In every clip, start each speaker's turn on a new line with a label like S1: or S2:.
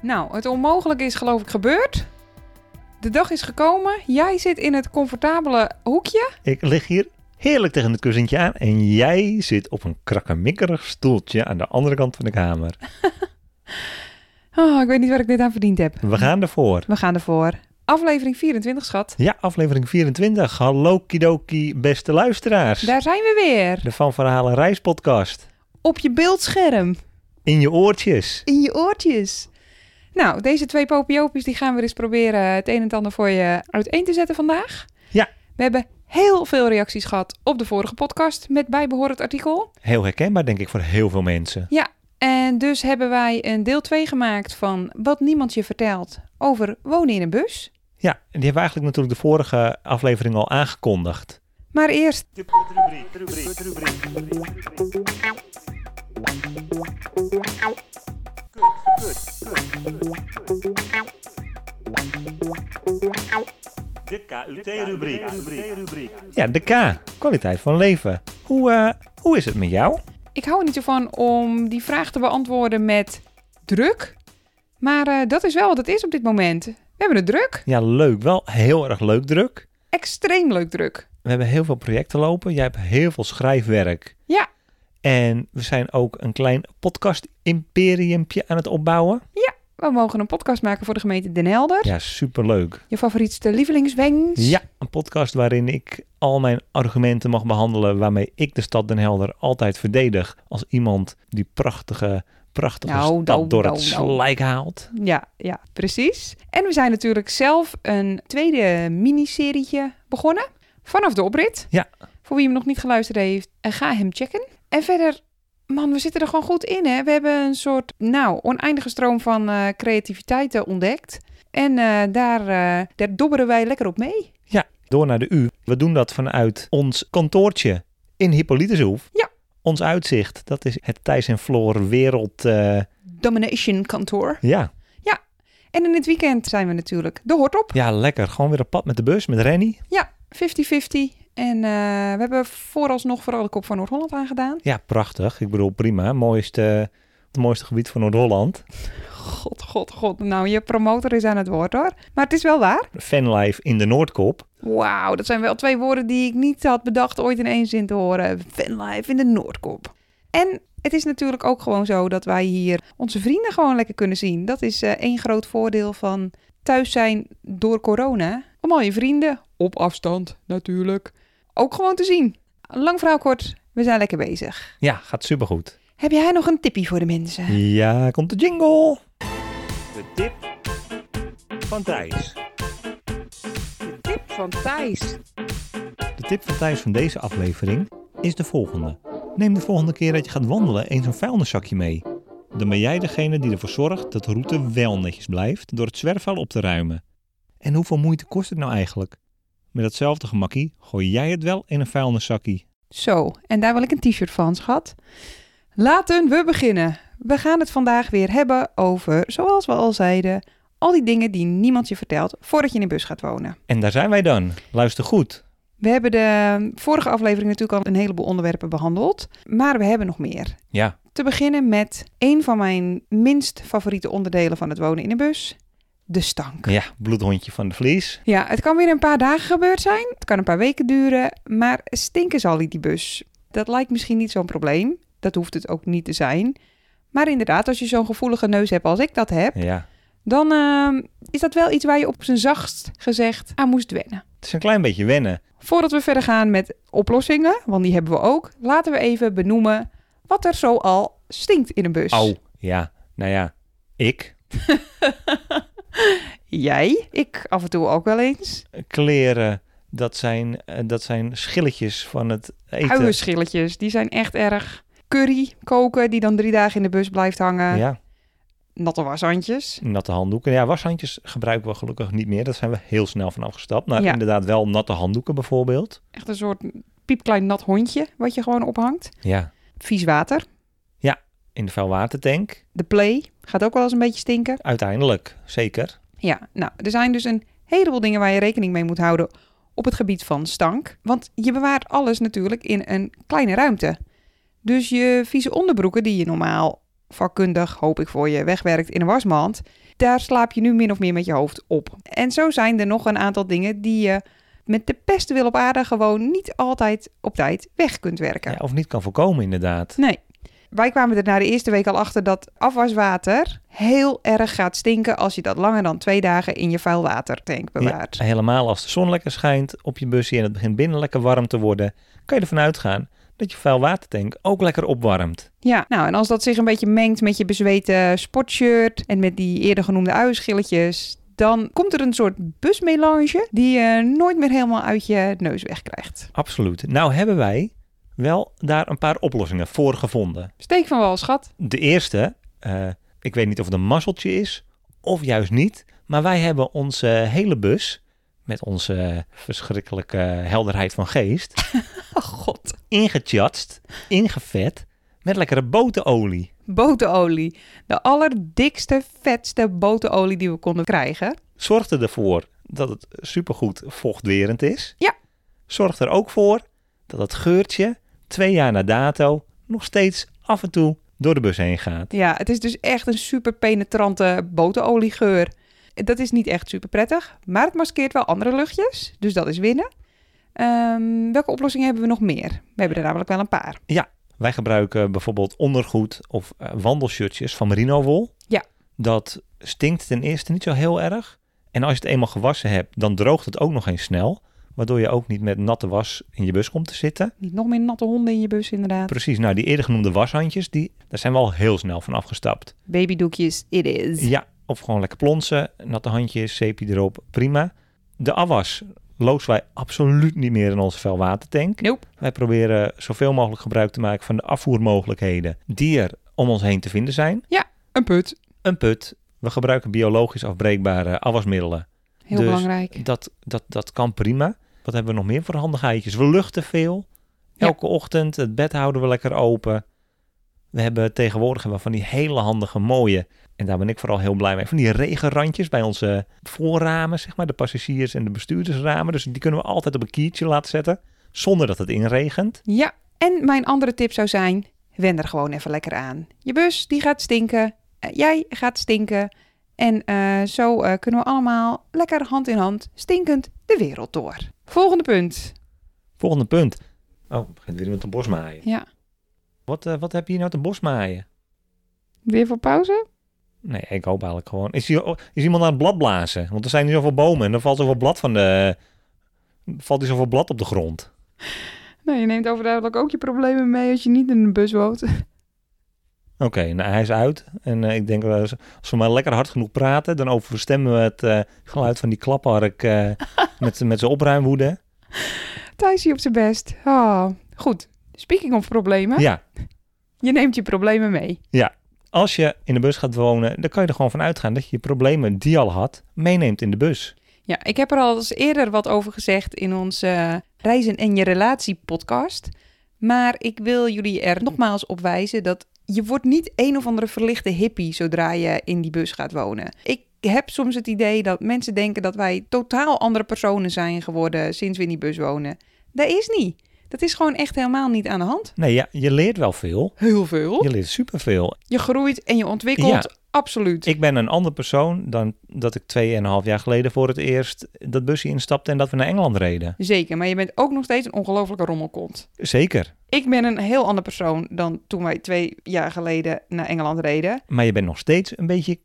S1: Nou, het onmogelijke is geloof ik gebeurd. De dag is gekomen. Jij zit in het comfortabele hoekje.
S2: Ik lig hier heerlijk tegen het kussentje aan en jij zit op een krakkemikkerig stoeltje aan de andere kant van de kamer.
S1: Oh, ik weet niet waar ik dit aan verdiend heb.
S2: We gaan ervoor.
S1: We gaan ervoor. Aflevering 24, schat.
S2: Ja, aflevering 24. Hallo kidoki, beste luisteraars.
S1: Daar zijn we weer.
S2: De Van Verhalen reispodcast.
S1: Op je beeldscherm.
S2: In je oortjes.
S1: In je oortjes. Nou, deze twee popiopies die gaan we weer eens proberen het een en het ander voor je uiteen te zetten vandaag.
S2: Ja.
S1: We hebben heel veel reacties gehad op de vorige podcast met bijbehorend artikel.
S2: Heel herkenbaar denk ik voor heel veel mensen.
S1: En dus hebben wij een deel 2 gemaakt van wat niemand je vertelt over wonen in een bus.
S2: Ja, en die hebben we eigenlijk natuurlijk de vorige aflevering al aangekondigd.
S1: Maar eerst...
S3: De KUT-rubriek.
S2: Ja, de K, kwaliteit van leven. Hoe, eh, hoe is het met jou?
S1: Ik hou er niet zo van om die vraag te beantwoorden met druk. Maar eh, dat is wel wat het is op dit moment. We hebben het druk.
S2: Ja, leuk. Wel heel erg leuk druk.
S1: Extreem leuk druk.
S2: We hebben heel veel projecten lopen. Jij hebt heel veel schrijfwerk.
S1: Ja.
S2: En we zijn ook een klein podcast-imperiumpje aan het opbouwen.
S1: We mogen een podcast maken voor de gemeente Den Helder.
S2: Ja, superleuk.
S1: Je favorietste lievelingswens?
S2: Ja, een podcast waarin ik al mijn argumenten mag behandelen... waarmee ik de stad Den Helder altijd verdedig... als iemand die prachtige, prachtige
S1: Nou,
S2: stad
S1: nou,
S2: door
S1: nou,
S2: het
S1: nou.
S2: slijk haalt.
S1: Ja, ja, precies. En we zijn natuurlijk zelf een tweede miniserietje begonnen. Vanaf de oprit.
S2: Ja.
S1: Voor wie hem nog niet geluisterd heeft, eh, ga hem checken. En verder, man, we zitten er gewoon goed in, hè. We hebben een soort, nou, oneindige stroom van eh, creativiteit eh, ontdekt. En eh, daar, eh, daar dobberen wij lekker op mee.
S2: door naar de U. We doen dat vanuit ons kantoortje in Hippolytushoef.
S1: Ja.
S2: Ons uitzicht, dat is het Thijs en Floor wereld. eh,
S1: Domination kantoor.
S2: ja.
S1: En in het weekend zijn we natuurlijk de hort op.
S2: ja, lekker. Gewoon weer op pad met de bus, met Rennie.
S1: Ja, 50-50. En eh, we hebben vooralsnog vooral de kop van Noord-Holland aangedaan.
S2: Ja, prachtig. Ik bedoel, prima. Mooiste, het mooiste gebied van Noord-Holland.
S1: God, god, god. Nou, je promotor is aan het woord hoor. Maar het is wel waar.
S2: Fanlife in de Noordkop.
S1: Wauw, dat zijn wel twee woorden die ik niet had bedacht ooit in één zin te horen. Fanlife in de Noordkop. En het is natuurlijk ook gewoon zo dat wij hier onze vrienden gewoon lekker kunnen zien. Dat is eh, één groot voordeel van thuis zijn door corona. Om al je vrienden, op afstand natuurlijk, ook gewoon te zien. Lang verhaal kort, we zijn lekker bezig.
S2: Ja, gaat supergoed.
S1: Heb jij nog een tippie voor de mensen?
S2: Ja, komt de jingle.
S3: De tip van Thijs.
S1: De tip van Thijs.
S2: De tip van Thijs van deze aflevering is de volgende. Neem de volgende keer dat je gaat wandelen eens een vuilniszakje mee. Dan ben jij degene die ervoor zorgt dat de route wel netjes blijft door het zwerfvuil op te ruimen. En hoeveel moeite kost het nou eigenlijk? Met datzelfde gemakkie gooi jij het wel in een vuilniszakkie.
S1: Zo, en daar wil ik een t-shirt van, schat. Laten we beginnen. We gaan het vandaag weer hebben over, zoals we al zeiden, al die dingen die niemand je vertelt voordat je in een bus gaat wonen.
S2: En daar zijn wij dan. Luister goed.
S1: We hebben de vorige aflevering natuurlijk al een heleboel onderwerpen behandeld, maar we hebben nog meer.
S2: Ja.
S1: Te beginnen met een van mijn minst favoriete onderdelen van het wonen in een bus, de stank.
S2: Ja, bloedhondje van de vlies.
S1: Ja, het kan weer een paar dagen gebeurd zijn. Het kan een paar weken duren. Maar stinken zal die die bus. Dat lijkt misschien niet zo'n probleem. Dat hoeft het ook niet te zijn. Maar inderdaad, als je zo'n gevoelige neus hebt als ik dat heb,
S2: Ja.
S1: dan ehm, is dat wel iets waar je op zijn zachtst gezegd aan moest wennen.
S2: Het is een klein beetje wennen.
S1: Voordat we verder gaan met oplossingen, want die hebben we ook, laten we even benoemen wat er zo al stinkt in een bus.
S2: Dus- Au. Ja. Nou ja. Ik.
S1: Jij, ik af en toe ook wel eens.
S2: Kleren. Dat zijn, eh, dat zijn schilletjes van het eten.
S1: Uienschilletjes, die zijn echt erg. Curry koken, die dan drie dagen in de bus blijft hangen.
S2: Ja,
S1: Natte washandjes.
S2: natte handdoeken. Ja, washandjes gebruiken we gelukkig niet meer. Daar zijn we heel snel van afgestapt. Maar
S1: Ja.
S2: inderdaad wel natte handdoeken bijvoorbeeld.
S1: Echt een soort piepklein nat hondje, wat je gewoon ophangt.
S2: Ja,
S1: Vies water.
S2: in de vuilwatertank.
S1: De play gaat ook wel eens een beetje stinken.
S2: Uiteindelijk, zeker.
S1: Ja, nou, er zijn dus een heleboel dingen waar je rekening mee moet houden op het gebied van stank. Want je bewaart alles natuurlijk in een kleine ruimte. Dus je vieze onderbroeken die je normaal vakkundig, hoop ik voor je, wegwerkt in een wasmand, daar slaap je nu min of meer met je hoofd op. En zo zijn er nog een aantal dingen die je met de beste wil op aarde gewoon niet altijd op tijd weg kunt werken.
S2: Ja, of niet kan voorkomen inderdaad.
S1: Nee. Wij kwamen er na de eerste week al achter dat afwaswater heel erg gaat stinken als je dat langer dan twee dagen in je vuilwatertank bewaart.
S2: Ja, helemaal als de zon lekker schijnt op je busje en het begint binnen lekker warm te worden, kan je ervan uitgaan dat je vuilwatertank ook lekker opwarmt.
S1: Ja, nou en als dat zich een beetje mengt met je bezweten sportshirt en met die eerder genoemde uienschilletjes, dan komt er een soort busmelange die je nooit meer helemaal uit je neus wegkrijgt.
S2: Absoluut. Nou hebben wij wel daar een paar oplossingen voor gevonden.
S1: Steek van wal, schat.
S2: De eerste, eh, ik weet niet of het een mazzeltje is of juist niet, maar wij hebben onze hele bus met onze verschrikkelijke helderheid van geest
S1: Oh god.
S2: ingechatst, ingevet met lekkere boterolie.
S1: Boterolie. De allerdikste, vetste boterolie die we konden krijgen.
S2: zorgt er ervoor dat het supergoed vochtwerend is.
S1: Ja.
S2: Zorgt er ook voor dat het geurtje twee jaar na dato nog steeds af en toe door de bus heen gaat.
S1: Ja, het is dus echt een super penetrante boteroliegeur. Dat is niet echt super prettig, maar het maskeert wel andere luchtjes, dus dat is winnen. Ehm, welke oplossingen hebben we nog meer? We hebben er namelijk wel een paar.
S2: Wij gebruiken bijvoorbeeld ondergoed of eh, wandelshirtjes van merino-wol.
S1: Ja.
S2: Dat stinkt ten eerste niet zo heel erg. En als je het eenmaal gewassen hebt, dan droogt het ook nog eens snel. Waardoor je ook niet met natte was in je bus komt te zitten.
S1: Niet nog meer natte honden in je bus, inderdaad.
S2: Precies, nou die eerder genoemde washandjes, die, daar zijn we al heel snel van afgestapt.
S1: Babydoekjes, it is.
S2: Ja, of gewoon lekker plonsen, natte handjes, zeepje erop, prima. De afwas lozen wij absoluut niet meer in onze vuilwatertank.
S1: Nope.
S2: Wij proberen zoveel mogelijk gebruik te maken van de afvoermogelijkheden die er om ons heen te vinden zijn.
S1: Een put.
S2: Een put, we gebruiken biologisch afbreekbare afwasmiddelen.
S1: Heel
S2: Dus-
S1: belangrijk.
S2: Dat, dat, dat kan prima. Wat hebben we nog meer voor handigheidjes? We luchten veel.
S1: Ja.
S2: Elke ochtend, het bed houden we lekker open. We hebben tegenwoordig hebben we van die hele handige, mooie, en daar ben ik vooral heel blij mee, van die regenrandjes bij onze voorramen, zeg maar, de passagiers- en de bestuurdersramen. Dus die kunnen we altijd op een kiertje laten zetten, zonder dat het inregent.
S1: Ja, en mijn andere tip zou zijn, wen er gewoon even lekker aan. Je bus, die gaat stinken. eh, jij gaat stinken. En eh, zo eh, kunnen we allemaal lekker hand in hand stinkend de wereld door. Volgende punt.
S2: Volgende punt. Oh, begint weer met een bosmaaien.
S1: Ja,
S2: Wat, eh, wat heb je hier nou te bosmaaien?
S1: weer voor pauze?
S2: Nee, ik hoop eigenlijk gewoon. Is, hier, oh, is iemand aan het blad blazen? Want er zijn hier zoveel bomen en er valt zoveel blad van de. Valt hier zoveel blad op de grond?
S1: Nou, je neemt overduidelijk ook je problemen mee als je niet in een bus woont.
S2: Oké, nou hij is uit. En eh, ik denk, eh, als als we maar lekker hard genoeg praten, dan overstemmen we het eh, geluid van die klaphark eh, met, met zijn opruimwoede.
S1: Thijs hier op zijn best. Ah, Goed, speaking of problemen,
S2: Ja,
S1: je neemt je problemen mee.
S2: als je in de bus gaat wonen, dan kan je er gewoon van uitgaan dat je je problemen die je al had, meeneemt in de bus.
S1: Ja, ik heb er al eens eerder wat over gezegd in onze eh, Reizen en je relatie podcast. Maar ik wil jullie er nogmaals op wijzen dat je wordt niet een of andere verlichte hippie zodra je in die bus gaat wonen. Ik heb soms het idee dat mensen denken dat wij totaal andere personen zijn geworden sinds we in die bus wonen. Dat is niet. Dat is gewoon echt helemaal niet aan de hand.
S2: Nee, ja, je leert wel veel.
S1: Heel veel.
S2: Je leert superveel.
S1: Je groeit en je ontwikkelt.
S2: Ja.
S1: Absoluut.
S2: Ik ben een ander persoon dan dat ik tweeënhalf jaar geleden voor het eerst dat busje instapte en dat we naar Engeland reden.
S1: Zeker. Maar je bent ook nog steeds een ongelofelijke rommelkont.
S2: Zeker.
S1: Ik ben een heel ander persoon dan toen wij twee jaar geleden naar Engeland reden.
S2: Maar je bent nog steeds een beetje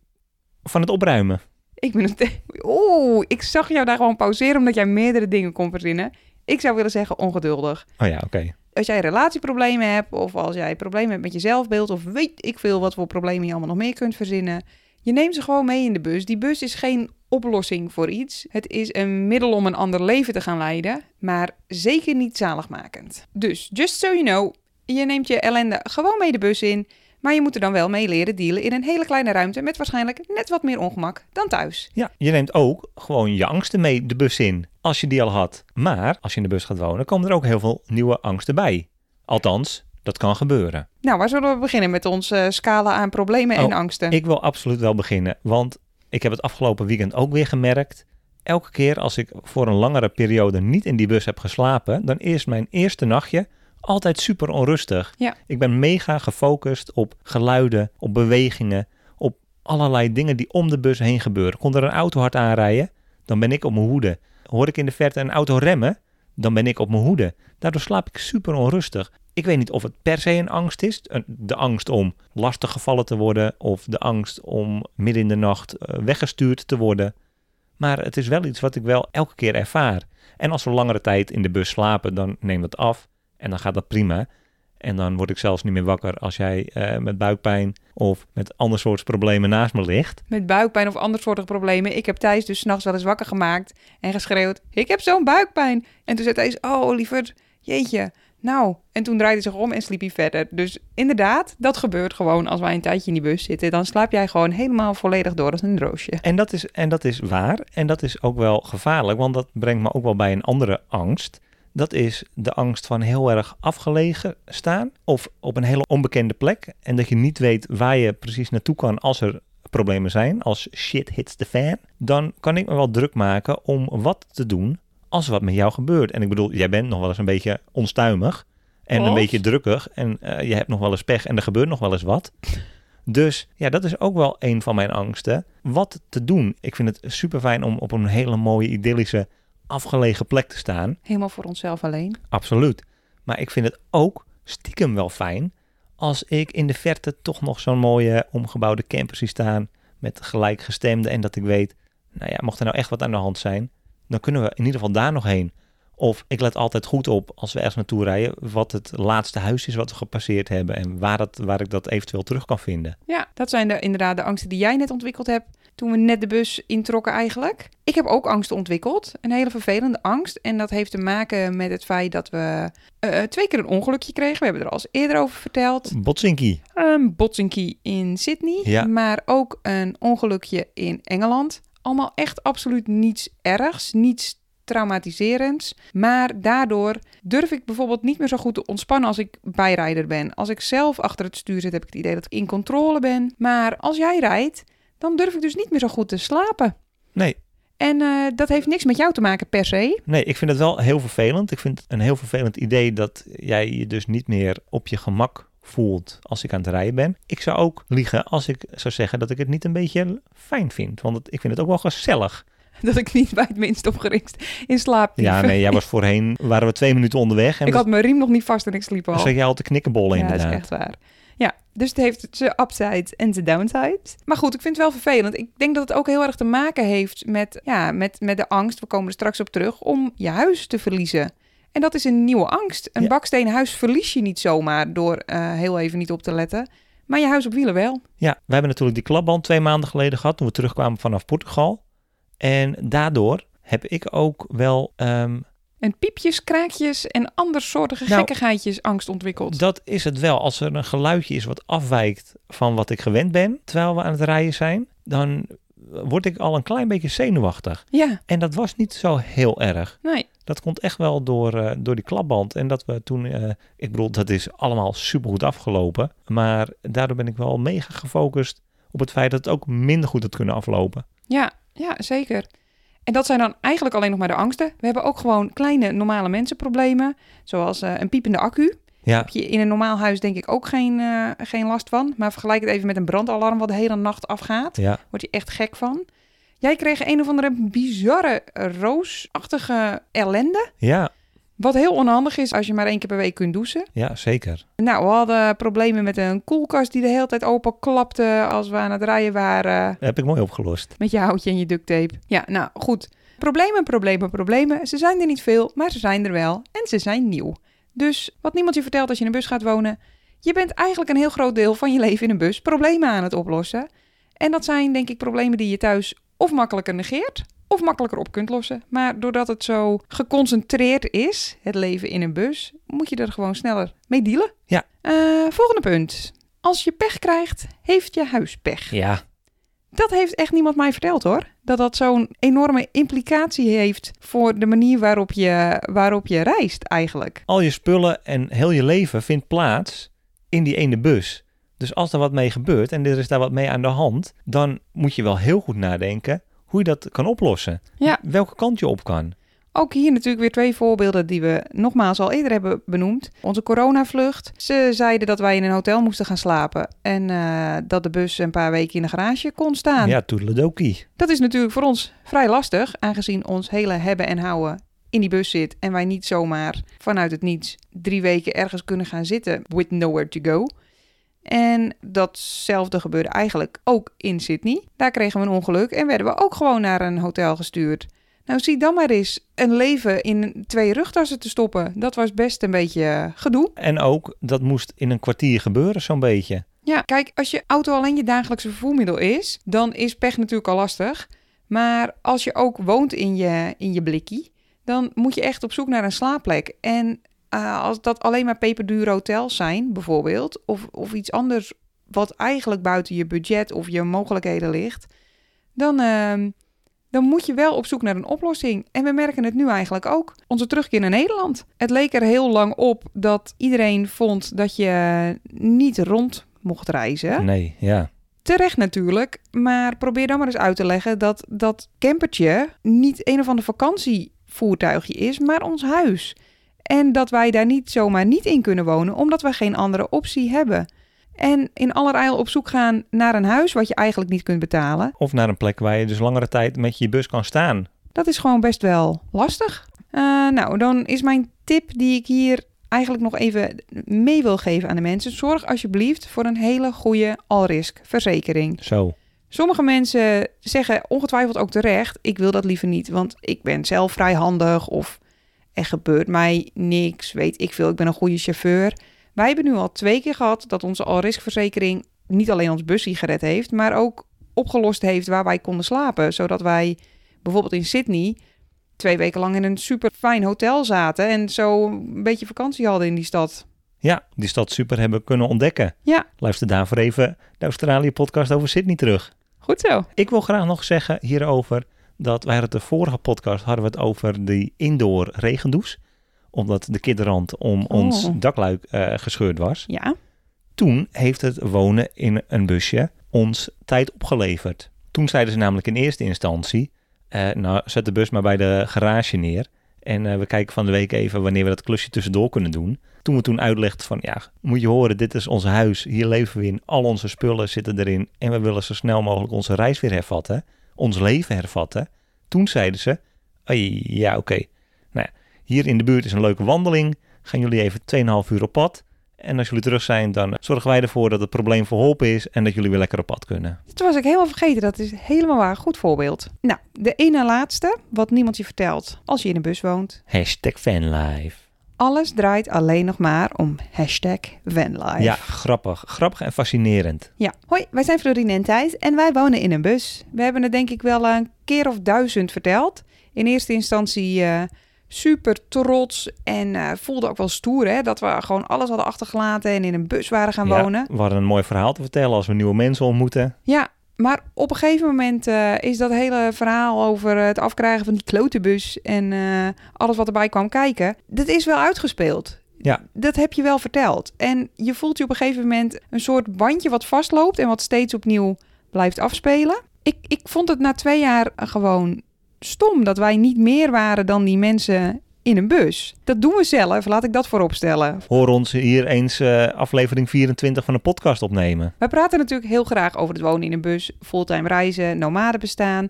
S2: van het opruimen.
S1: Ik ben een... te- Oeh, ik zag jou daar gewoon pauzeren omdat jij meerdere dingen kon verzinnen. Ik zou willen zeggen ongeduldig.
S2: Oh ja, oké.
S1: Als jij relatieproblemen hebt of als jij problemen hebt met je zelfbeeld... of weet ik veel wat voor problemen je allemaal nog meer kunt verzinnen... je neemt ze gewoon mee in de bus. Die bus is geen oplossing voor iets. Het is een middel om een ander leven te gaan leiden, maar zeker niet zaligmakend. Dus, just so you know, je neemt je ellende gewoon mee de bus in, maar je moet er dan wel mee leren dealen in een hele kleine ruimte met waarschijnlijk net wat meer ongemak dan thuis.
S2: Ja, je neemt ook gewoon je angsten mee de bus in, als je die al had. Maar als je in de bus gaat wonen, komen er ook heel veel nieuwe angsten bij. Althans, dat kan gebeuren.
S1: Nou, waar zullen we beginnen met onze eh, scala aan problemen en
S2: Oh,
S1: angsten?
S2: Ik wil absoluut wel beginnen, want ik heb het afgelopen weekend ook weer gemerkt. Elke keer als ik voor een langere periode niet in die bus heb geslapen, dan is mijn eerste nachtje altijd super onrustig.
S1: Ja.
S2: Ik ben mega gefocust op geluiden, op bewegingen, op allerlei dingen die om de bus heen gebeuren. Komt er een auto hard aanrijden, dan ben ik op mijn hoede. Hoor ik in de verte een auto remmen, dan ben ik op mijn hoede. Daardoor slaap ik super onrustig. Ik weet niet of het per se een angst is. Een- De angst om lastig gevallen te worden of de angst om midden in de nacht eh, weggestuurd te worden. Maar het is wel iets wat ik wel elke keer ervaar. En als we langere tijd in de bus slapen, dan neemt dat af en dan gaat dat prima. En dan word ik zelfs niet meer wakker als jij eh, met buikpijn of met ander soort problemen naast me ligt.
S1: Met buikpijn of ander soort problemen. Ik heb Thijs dus s'nachts wel eens wakker gemaakt en geschreeuwd: Ik heb zo'n buikpijn. En toen zei Thijs: Oh, liever, jeetje. Nou, en toen draaide hij zich om en sliep hij verder. Dus inderdaad, dat gebeurt gewoon als wij een tijdje in die bus zitten. Dan slaap jij gewoon helemaal volledig door als een roosje.
S2: En dat, is, en dat is waar. En dat is ook wel gevaarlijk, want dat brengt me ook wel bij een andere angst. Dat is de angst van heel erg afgelegen staan of op een hele onbekende plek. En dat je niet weet waar je precies naartoe kan als er problemen zijn, als shit hits the fan. Dan kan ik me wel druk maken om wat te doen als er wat met jou gebeurt. En ik bedoel, jij bent nog wel eens een beetje onstuimig en een
S1: Of?
S2: beetje drukkig. En eh, je hebt nog wel eens pech en er gebeurt nog wel eens wat. Dus ja, dat is ook wel een van mijn angsten. Wat te doen. Ik vind het super fijn om op een hele mooie, idyllische, afgelegen plek te staan.
S1: Helemaal voor onszelf alleen.
S2: Absoluut. Maar ik vind het ook stiekem wel fijn als ik in de verte toch nog zo'n mooie omgebouwde camper zie staan met gelijkgestemden en dat ik weet, nou ja, mocht er nou echt wat aan de hand zijn, dan kunnen we in ieder geval daar nog heen. Of ik let altijd goed op als we ergens naartoe rijden wat het laatste huis is wat we gepasseerd hebben en waar, dat, waar ik dat eventueel terug kan vinden.
S1: Ja, dat zijn de, inderdaad de angsten die jij net ontwikkeld hebt toen we net de bus introkken eigenlijk. Ik heb ook angsten ontwikkeld, een hele vervelende angst. En dat heeft te maken met het feit dat we eh, twee keer een ongelukje kregen. We hebben er al eens eerder over verteld.
S2: Botsinki.
S1: Een botsinkie in Sydney,
S2: Ja.
S1: maar ook een ongelukje in Engeland. Allemaal echt absoluut niets ergs, niets traumatiserends. Maar daardoor durf ik bijvoorbeeld niet meer zo goed te ontspannen als ik bijrijder ben. Als ik zelf achter het stuur zit, heb ik het idee dat ik in controle ben. Maar als jij rijdt, dan durf ik dus niet meer zo goed te slapen.
S2: Nee,
S1: En eh, dat heeft niks met jou te maken per se.
S2: nee, ik vind het wel heel vervelend. Ik vind het een heel vervelend idee dat jij je dus niet meer op je gemak voelt als ik aan het rijden ben. Ik zou ook liegen als ik zou zeggen dat ik het niet een beetje fijn vind. Want het- ik vind het ook wel gezellig.
S1: Dat ik niet bij het minst opgeringst in slaap
S2: Ja,
S1: liep.
S2: nee, jij was voorheen, waren we twee minuten onderweg en
S1: Ik
S2: dan
S1: had mijn riem nog niet vast en ik sliep al.
S2: zat jij al te knikkenbollen
S1: Ja,
S2: inderdaad.
S1: dat is echt waar. Ja, dus het heeft zijn upside en zijn downside. Maar goed, ik vind het wel vervelend. Ik denk dat het ook heel erg te maken heeft met, ja, met, met de angst, we komen er straks op terug, om je huis te verliezen. En dat is een nieuwe angst. Een
S2: Ja.
S1: bakstenen huis verlies je niet zomaar door eh, heel even niet op te letten. Maar je huis op wielen wel.
S2: Ja, we hebben natuurlijk die klapband twee maanden geleden gehad toen we terugkwamen vanaf Portugal. En daardoor heb ik ook wel ehm,
S1: En piepjes, kraakjes en andersoortige
S2: Nou,
S1: gekkigheidjes angst ontwikkeld.
S2: Dat is het wel. Als er een geluidje is wat afwijkt van wat ik gewend ben, terwijl we aan het rijden zijn, dan word ik al een klein beetje zenuwachtig.
S1: Ja,
S2: En dat was niet zo heel erg.
S1: nee.
S2: Dat komt echt wel door, eh, door die klapband. En dat we toen, eh, ik bedoel, dat is allemaal supergoed afgelopen. Maar daardoor ben ik wel mega gefocust op het feit dat het ook minder goed had kunnen aflopen.
S1: Ja, ja, zeker. En dat zijn dan eigenlijk alleen nog maar de angsten. We hebben ook gewoon kleine normale mensenproblemen, zoals eh, een piepende accu.
S2: Ja,
S1: Heb je in een normaal huis denk ik ook geen, eh, geen last van. Maar vergelijk het even met een brandalarm wat de hele nacht afgaat.
S2: ja.
S1: Word je echt gek van. Jij kreeg een of andere bizarre eh, roosachtige ellende.
S2: Ja,
S1: Wat heel onhandig is als je maar één keer per week kunt douchen.
S2: ja, zeker.
S1: Nou, we hadden problemen met een koelkast die de hele tijd open klapte als we aan het rijden waren.
S2: Heb ik mooi opgelost.
S1: Met je houtje en je duct tape. Ja, nou goed. Problemen, problemen, problemen. Ze zijn er niet veel, maar ze zijn er wel. En ze zijn nieuw. Dus wat niemand je vertelt als je in een bus gaat wonen. Je bent eigenlijk een heel groot deel van je leven in een bus problemen aan het oplossen. En dat zijn denk ik problemen die je thuis of makkelijker negeert of makkelijker op kunt lossen. Maar doordat het zo geconcentreerd is, het leven in een bus, moet je er gewoon sneller mee dealen.
S2: Ja.
S1: Eh, volgende punt. Als je pech krijgt, heeft je huis pech.
S2: Ja.
S1: Dat heeft echt niemand mij verteld hoor. Dat dat zo'n enorme implicatie heeft voor de manier waarop je, waarop je reist eigenlijk.
S2: Al je spullen en heel je leven vindt plaats in die ene bus. Dus als er wat mee gebeurt en er is daar wat mee aan de hand, dan moet je wel heel goed nadenken hoe je dat kan oplossen.
S1: Ja.
S2: Welke kant je op kan.
S1: Ook hier natuurlijk weer twee voorbeelden die we nogmaals al eerder hebben benoemd. Onze coronavlucht. Ze zeiden dat wij in een hotel moesten gaan slapen. En eh, dat de bus een paar weken in de garage kon staan.
S2: Ja, toedeledokie.
S1: Dat is natuurlijk voor ons vrij lastig. Aangezien ons hele hebben en houden in die bus zit. En wij niet zomaar vanuit het niets drie weken ergens kunnen gaan zitten. With nowhere to go. En datzelfde gebeurde eigenlijk ook in Sydney. Daar kregen we een ongeluk en werden we ook gewoon naar een hotel gestuurd. Nou, zie dan maar eens een leven in twee rugtassen te stoppen. Dat was best een beetje eh, gedoe.
S2: En ook, dat moest in een kwartier gebeuren zo'n beetje.
S1: Ja, kijk, als je auto alleen je dagelijkse vervoermiddel is, dan is pech natuurlijk al lastig. Maar als je ook woont in je, in je blikkie, dan moet je echt op zoek naar een slaapplek. En eh, als dat alleen maar peperdure hotels zijn, bijvoorbeeld, of, of iets anders wat eigenlijk buiten je budget of je mogelijkheden ligt, dan, ehm, dan moet je wel op zoek naar een oplossing. En we merken het nu eigenlijk ook. Onze terugkeer naar Nederland. Het leek er heel lang op dat iedereen vond dat je niet rond mocht reizen.
S2: Nee, ja.
S1: Terecht natuurlijk, maar probeer dan maar eens uit te leggen dat dat campertje niet een of ander vakantievoertuigje is, maar ons huis. En dat wij daar niet zomaar niet in kunnen wonen, omdat we geen andere optie hebben. En in allerijl op zoek gaan naar een huis wat je eigenlijk niet kunt betalen,
S2: Of naar een plek waar je dus langere tijd met je bus kan staan.
S1: dat is gewoon best wel lastig. Eh, nou, dan is mijn tip die ik hier eigenlijk nog even mee wil geven aan de mensen. Zorg alsjeblieft voor een hele goede alrisk verzekering.
S2: Zo.
S1: Sommige mensen zeggen ongetwijfeld ook terecht: ik wil dat liever niet, want ik ben zelf vrij handig of er gebeurt mij niks, weet ik veel, ik ben een goede chauffeur. Wij hebben nu al twee keer gehad dat onze alriskverzekering niet alleen ons busje gered heeft, maar ook opgelost heeft waar wij konden slapen, zodat wij bijvoorbeeld in Sydney twee weken lang in een super fijn hotel zaten en zo een beetje vakantie hadden in die stad.
S2: Ja, die stad super hebben kunnen ontdekken.
S1: Ja.
S2: Luister daarvoor even de Australië-podcast over Sydney terug.
S1: Goed zo.
S2: Ik wil graag nog zeggen hierover dat wij hadden het de vorige podcast hadden we het over die indoor regendouche. Omdat de kidderrand om ons
S1: Oh.
S2: dakluik eh, gescheurd was.
S1: Ja.
S2: Toen heeft het wonen in een busje ons tijd opgeleverd. Toen zeiden ze namelijk in eerste instantie: eh, Nou, zet de bus maar bij de garage neer. En eh, we kijken van de week even wanneer we dat klusje tussendoor kunnen doen. Toen we toen uitlegden van ja, moet je horen, dit is ons huis. Hier leven we in. Al onze spullen zitten erin. En we willen zo snel mogelijk onze reis weer hervatten. Ons leven hervatten. Toen zeiden ze, "Oei, ja oké. Nou, ja, hier in de buurt is een leuke wandeling. Gaan jullie even 2,5 uur op pad. En als jullie terug zijn, dan zorgen wij ervoor dat het probleem verholpen is en dat jullie weer lekker op pad kunnen.
S1: Dat was ik helemaal vergeten. Dat is helemaal waar. Goed voorbeeld. Nou, de ene laatste, wat niemand je vertelt als je in een bus woont.
S2: Hashtag fanlife.
S1: Alles draait alleen nog maar om hashtag vanlife.
S2: Ja, grappig. Grappig en fascinerend.
S1: Ja. Hoi, wij zijn Florine en Thijs en wij wonen in een bus. We hebben het denk ik wel een keer of duizend verteld. In eerste instantie eh, super trots en eh, voelde ook wel stoer hè, dat we gewoon alles hadden achtergelaten en in een bus waren gaan
S2: Ja,
S1: wonen.
S2: we hadden een mooi verhaal te vertellen als we nieuwe mensen ontmoeten.
S1: Ja, maar op een gegeven moment eh, is dat hele verhaal over het afkrijgen van die klotenbus en eh, alles wat erbij kwam kijken, dat is wel uitgespeeld.
S2: Ja.
S1: Dat heb je wel verteld. En je voelt je op een gegeven moment een soort bandje wat vastloopt en wat steeds opnieuw blijft afspelen. Ik, ik vond het na twee jaar gewoon stom dat wij niet meer waren dan die mensen in een bus. Dat doen we zelf, laat ik dat voorop stellen.
S2: Hoor ons hier eens eh, aflevering 24 van de podcast opnemen.
S1: Wij praten natuurlijk heel graag over het wonen in een bus, fulltime reizen, nomaden bestaan.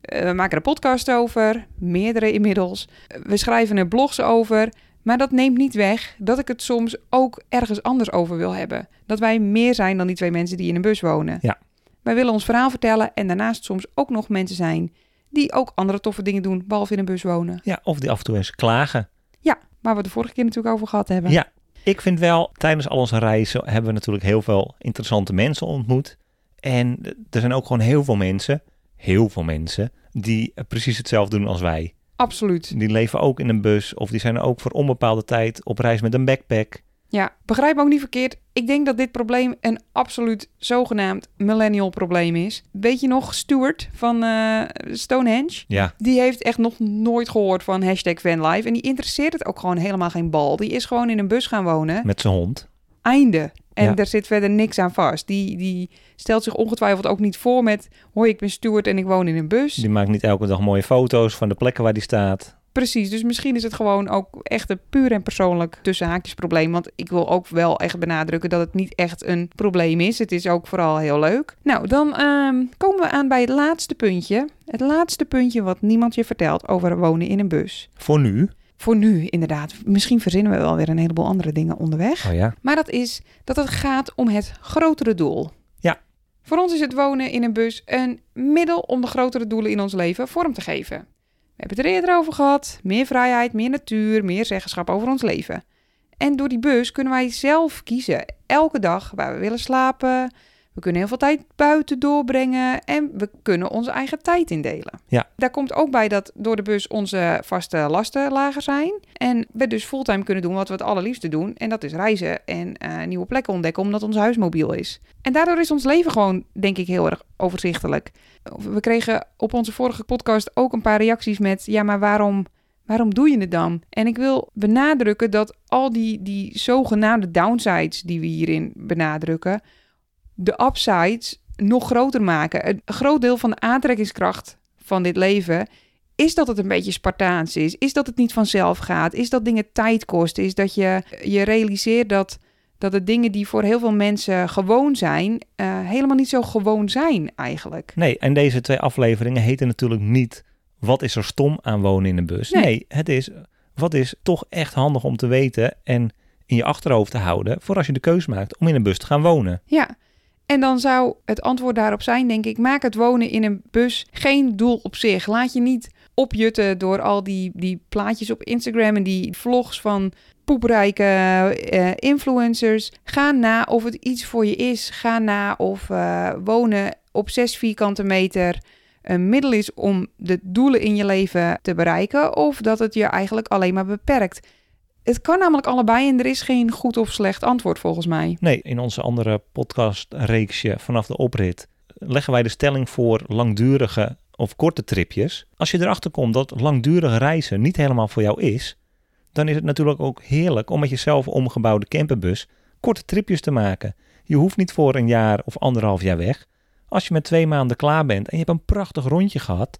S1: Eh, we maken er podcast over, meerdere inmiddels. Eh, we schrijven er blogs over. Maar dat neemt niet weg dat ik het soms ook ergens anders over wil hebben. Dat wij meer zijn dan die twee mensen die in een bus wonen.
S2: Ja.
S1: Wij willen ons verhaal vertellen en daarnaast soms ook nog mensen zijn die ook andere toffe dingen doen, behalve in een bus wonen.
S2: Ja, of die af en toe eens klagen.
S1: Ja, waar we het de vorige keer natuurlijk over gehad hebben.
S2: Ja. Ik vind wel, tijdens al onze reizen hebben we natuurlijk heel veel interessante mensen ontmoet. En er zijn ook gewoon heel veel mensen heel veel mensen die eh, precies hetzelfde doen als wij.
S1: Absoluut.
S2: Die leven ook in een bus of die zijn ook voor onbepaalde tijd op reis met een backpack.
S1: Ja, begrijp me ook niet verkeerd. Ik denk dat dit probleem een absoluut zogenaamd millennial probleem is. Weet je nog, Stuart van eh, Stonehenge?
S2: Ja,
S1: Die heeft echt nog nooit gehoord van hashtag vanlife. En die interesseert het ook gewoon helemaal geen bal. Die is gewoon in een bus gaan wonen.
S2: met zijn hond.
S1: Einde. En
S2: Ja.
S1: daar zit verder niks aan vast. Die, die stelt zich ongetwijfeld ook niet voor met... hoi, ik ben Stuart en ik woon in een bus.
S2: Die maakt niet elke dag mooie foto's van de plekken waar die staat.
S1: Precies, dus misschien is het gewoon ook echt een puur en persoonlijk tussen haakjes probleem. Want ik wil ook wel echt benadrukken dat het niet echt een probleem is. Het is ook vooral heel leuk. Nou, dan ehm, komen we aan bij het laatste puntje. Het laatste puntje wat niemand je vertelt over wonen in een bus.
S2: Voor nu.
S1: Voor nu inderdaad. Misschien verzinnen we wel weer een heleboel andere dingen onderweg.
S2: Oh ja.
S1: Maar dat is dat het gaat om het grotere doel.
S2: Ja.
S1: Voor ons is het wonen in een bus een middel om de grotere doelen in ons leven vorm te geven. We hebben het er eerder over gehad. Meer vrijheid, meer natuur, meer zeggenschap over ons leven. En door die bus kunnen wij zelf kiezen elke dag waar we willen slapen. We kunnen heel veel tijd buiten doorbrengen en we kunnen onze eigen tijd indelen.
S2: Ja.
S1: Daar komt ook bij dat door de bus onze vaste lasten lager zijn. En we dus fulltime kunnen doen wat we het allerliefste doen. En dat is reizen en eh, nieuwe plekken ontdekken, omdat ons huis mobiel is. En daardoor is ons leven gewoon, denk ik, heel erg overzichtelijk. We kregen op onze vorige podcast ook een paar reacties met... ja, maar waarom, waarom doe je het dan? En ik wil benadrukken dat al die, die zogenaamde downsides die we hierin benadrukken... de upsides nog groter maken. Een groot deel van de aantrekkingskracht van dit leven is dat het een beetje Spartaans is. Is dat het niet vanzelf gaat. Is dat dingen tijd kosten. Is dat je je realiseert dat, dat de dingen die voor heel veel mensen gewoon zijn, eh, helemaal niet zo gewoon zijn eigenlijk.
S2: Nee, en deze twee afleveringen heten natuurlijk niet wat is er stom aan wonen in een bus. Nee,
S1: Nee.
S2: het is wat is toch echt handig om te weten en in je achterhoofd te houden voor als je de keus maakt om in een bus te gaan wonen.
S1: Ja. En dan zou het antwoord daarop zijn, denk ik, maak het wonen in een bus geen doel op zich. Laat je niet opjutten door al die, die plaatjes op Instagram en die vlogs van poeprijke eh, influencers. Ga na of het iets voor je is. Ga na of eh, wonen op 6 vierkante meter een middel is om de doelen in je leven te bereiken of dat het je eigenlijk alleen maar beperkt. Het kan namelijk allebei en er is geen goed of slecht antwoord volgens mij.
S2: Nee, in onze andere podcastreeksje vanaf de oprit leggen wij de stelling voor langdurige of korte tripjes. Als je erachter komt dat langdurige reizen niet helemaal voor jou is, dan is het natuurlijk ook heerlijk om met jezelf omgebouwde camperbus korte tripjes te maken. Je hoeft niet voor een jaar of anderhalf jaar weg. Als je met twee maanden klaar bent en je hebt een prachtig rondje gehad,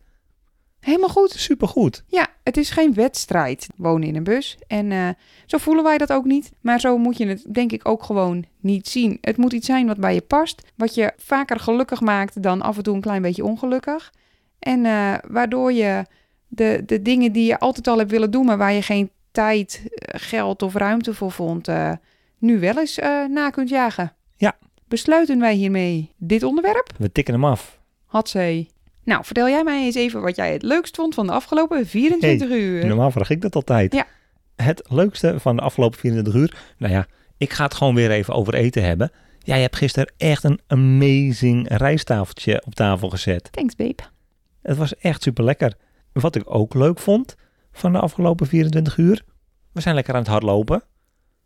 S1: Helemaal goed.
S2: supergoed.
S1: Ja, het is geen wedstrijd wonen in een bus. En eh, zo voelen wij dat ook niet. Maar zo moet je het denk ik ook gewoon niet zien. Het moet iets zijn wat bij je past. Wat je vaker gelukkig maakt dan af en toe een klein beetje ongelukkig. En eh, waardoor je de, de dingen die je altijd al hebt willen doen, maar waar je geen tijd, eh, geld of ruimte voor vond, eh, nu wel eens eh, na kunt jagen.
S2: Ja.
S1: Besluiten wij hiermee dit onderwerp?
S2: We tikken hem af.
S1: Had zij. Nou, vertel jij mij eens even wat jij het leukst vond van de afgelopen 24 uur.
S2: Normaal vraag ik dat altijd.
S1: Ja.
S2: Het leukste van de afgelopen 24 uur. Nou ja, ik ga het gewoon weer even over eten hebben. Jij hebt gisteren echt een amazing rijsttafeltje op tafel gezet.
S1: Thanks, babe.
S2: Het was echt super lekker. Wat ik ook leuk vond van de afgelopen 24 uur. We zijn lekker aan het hardlopen.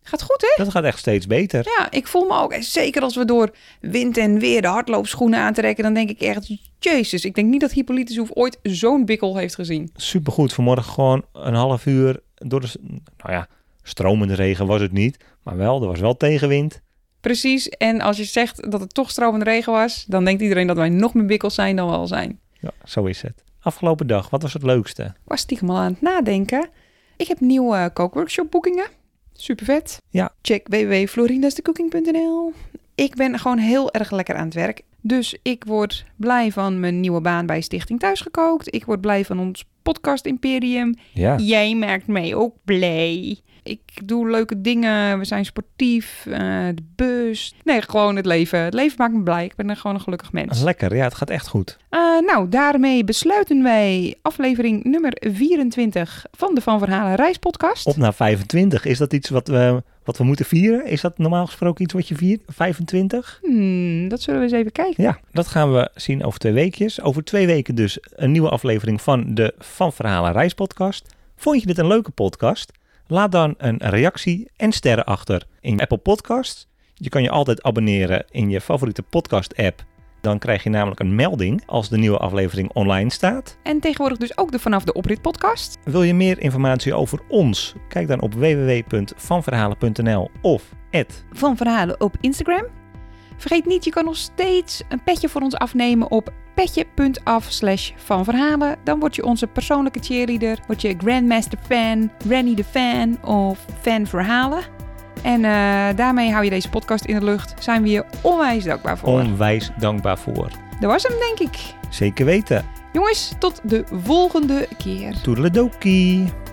S1: Gaat goed, hè?
S2: Dat gaat echt steeds beter.
S1: Ja, ik voel me ook. en Zeker als we door wind en weer de hardloopschoenen aantrekken, dan denk ik echt, jezus, ik denk niet dat Hippolytus Hoef ooit zo'n bikkel heeft gezien.
S2: Supergoed. Vanmorgen gewoon een half uur door de... s- Nou ja, stromende regen was het niet. Maar wel, er was wel tegenwind.
S1: Precies, en als je zegt dat het toch stromende regen was, dan denkt iedereen dat wij nog meer bikkels zijn dan we al zijn.
S2: Ja, zo is het. Afgelopen dag, wat was het leukste?
S1: Ik was stiekem al aan het nadenken. Ik heb nieuwe kookworkshop boekingen. Super vet.
S2: Ja.
S1: Check www.florindastecookingpnl. Ik ben gewoon heel erg lekker aan het werk. Dus ik word blij van mijn nieuwe baan bij Stichting Thuisgekookt. Ik word blij van ons podcast imperium.
S2: Ja.
S1: Jij maakt mij ook blij. ik doe leuke dingen, we zijn sportief, eh, de bus. Nee, gewoon het leven. Het leven maakt me blij. Ik ben een- gewoon een gelukkig mens.
S2: Nou, Lekker, ja, het gaat echt goed.
S1: Eh, nou, daarmee besluiten wij aflevering nummer 24 van de Van Verhalen Reispodcast.
S2: Op naar 25. Is dat iets wat we, wat we moeten vieren? Is dat normaal gesproken iets wat je viert? 25?
S1: Hmm, dat zullen we eens even kijken.
S2: Ja, dat gaan we zien over twee weekjes. Over twee weken dus een nieuwe aflevering van de Van Verhalen Reis podcast. Vond je dit een leuke podcast? Laat dan een reactie en sterren achter in Apple Podcasts. Je kan je altijd abonneren in je favoriete podcast app. Dan krijg je namelijk een melding als de nieuwe aflevering online staat.
S1: En tegenwoordig dus ook de Vanaf de Oprit podcast.
S2: Wil je meer informatie over ons? Kijk dan op www.vanverhalen.nl of at
S1: Van Verhalen op Instagram. Vergeet niet, je kan nog steeds een petje voor ons afnemen op petje.af slash van verhalen. Dan word je onze persoonlijke cheerleader, word je Grandmaster fan, Granny de fan of fan verhalen. En eh, daarmee hou je deze podcast in de lucht. Zijn we je onwijs dankbaar voor.
S2: onwijs dankbaar voor.
S1: Dat was hem denk ik.
S2: Zeker weten.
S1: Jongens, tot de volgende keer.
S2: Toedeledokie.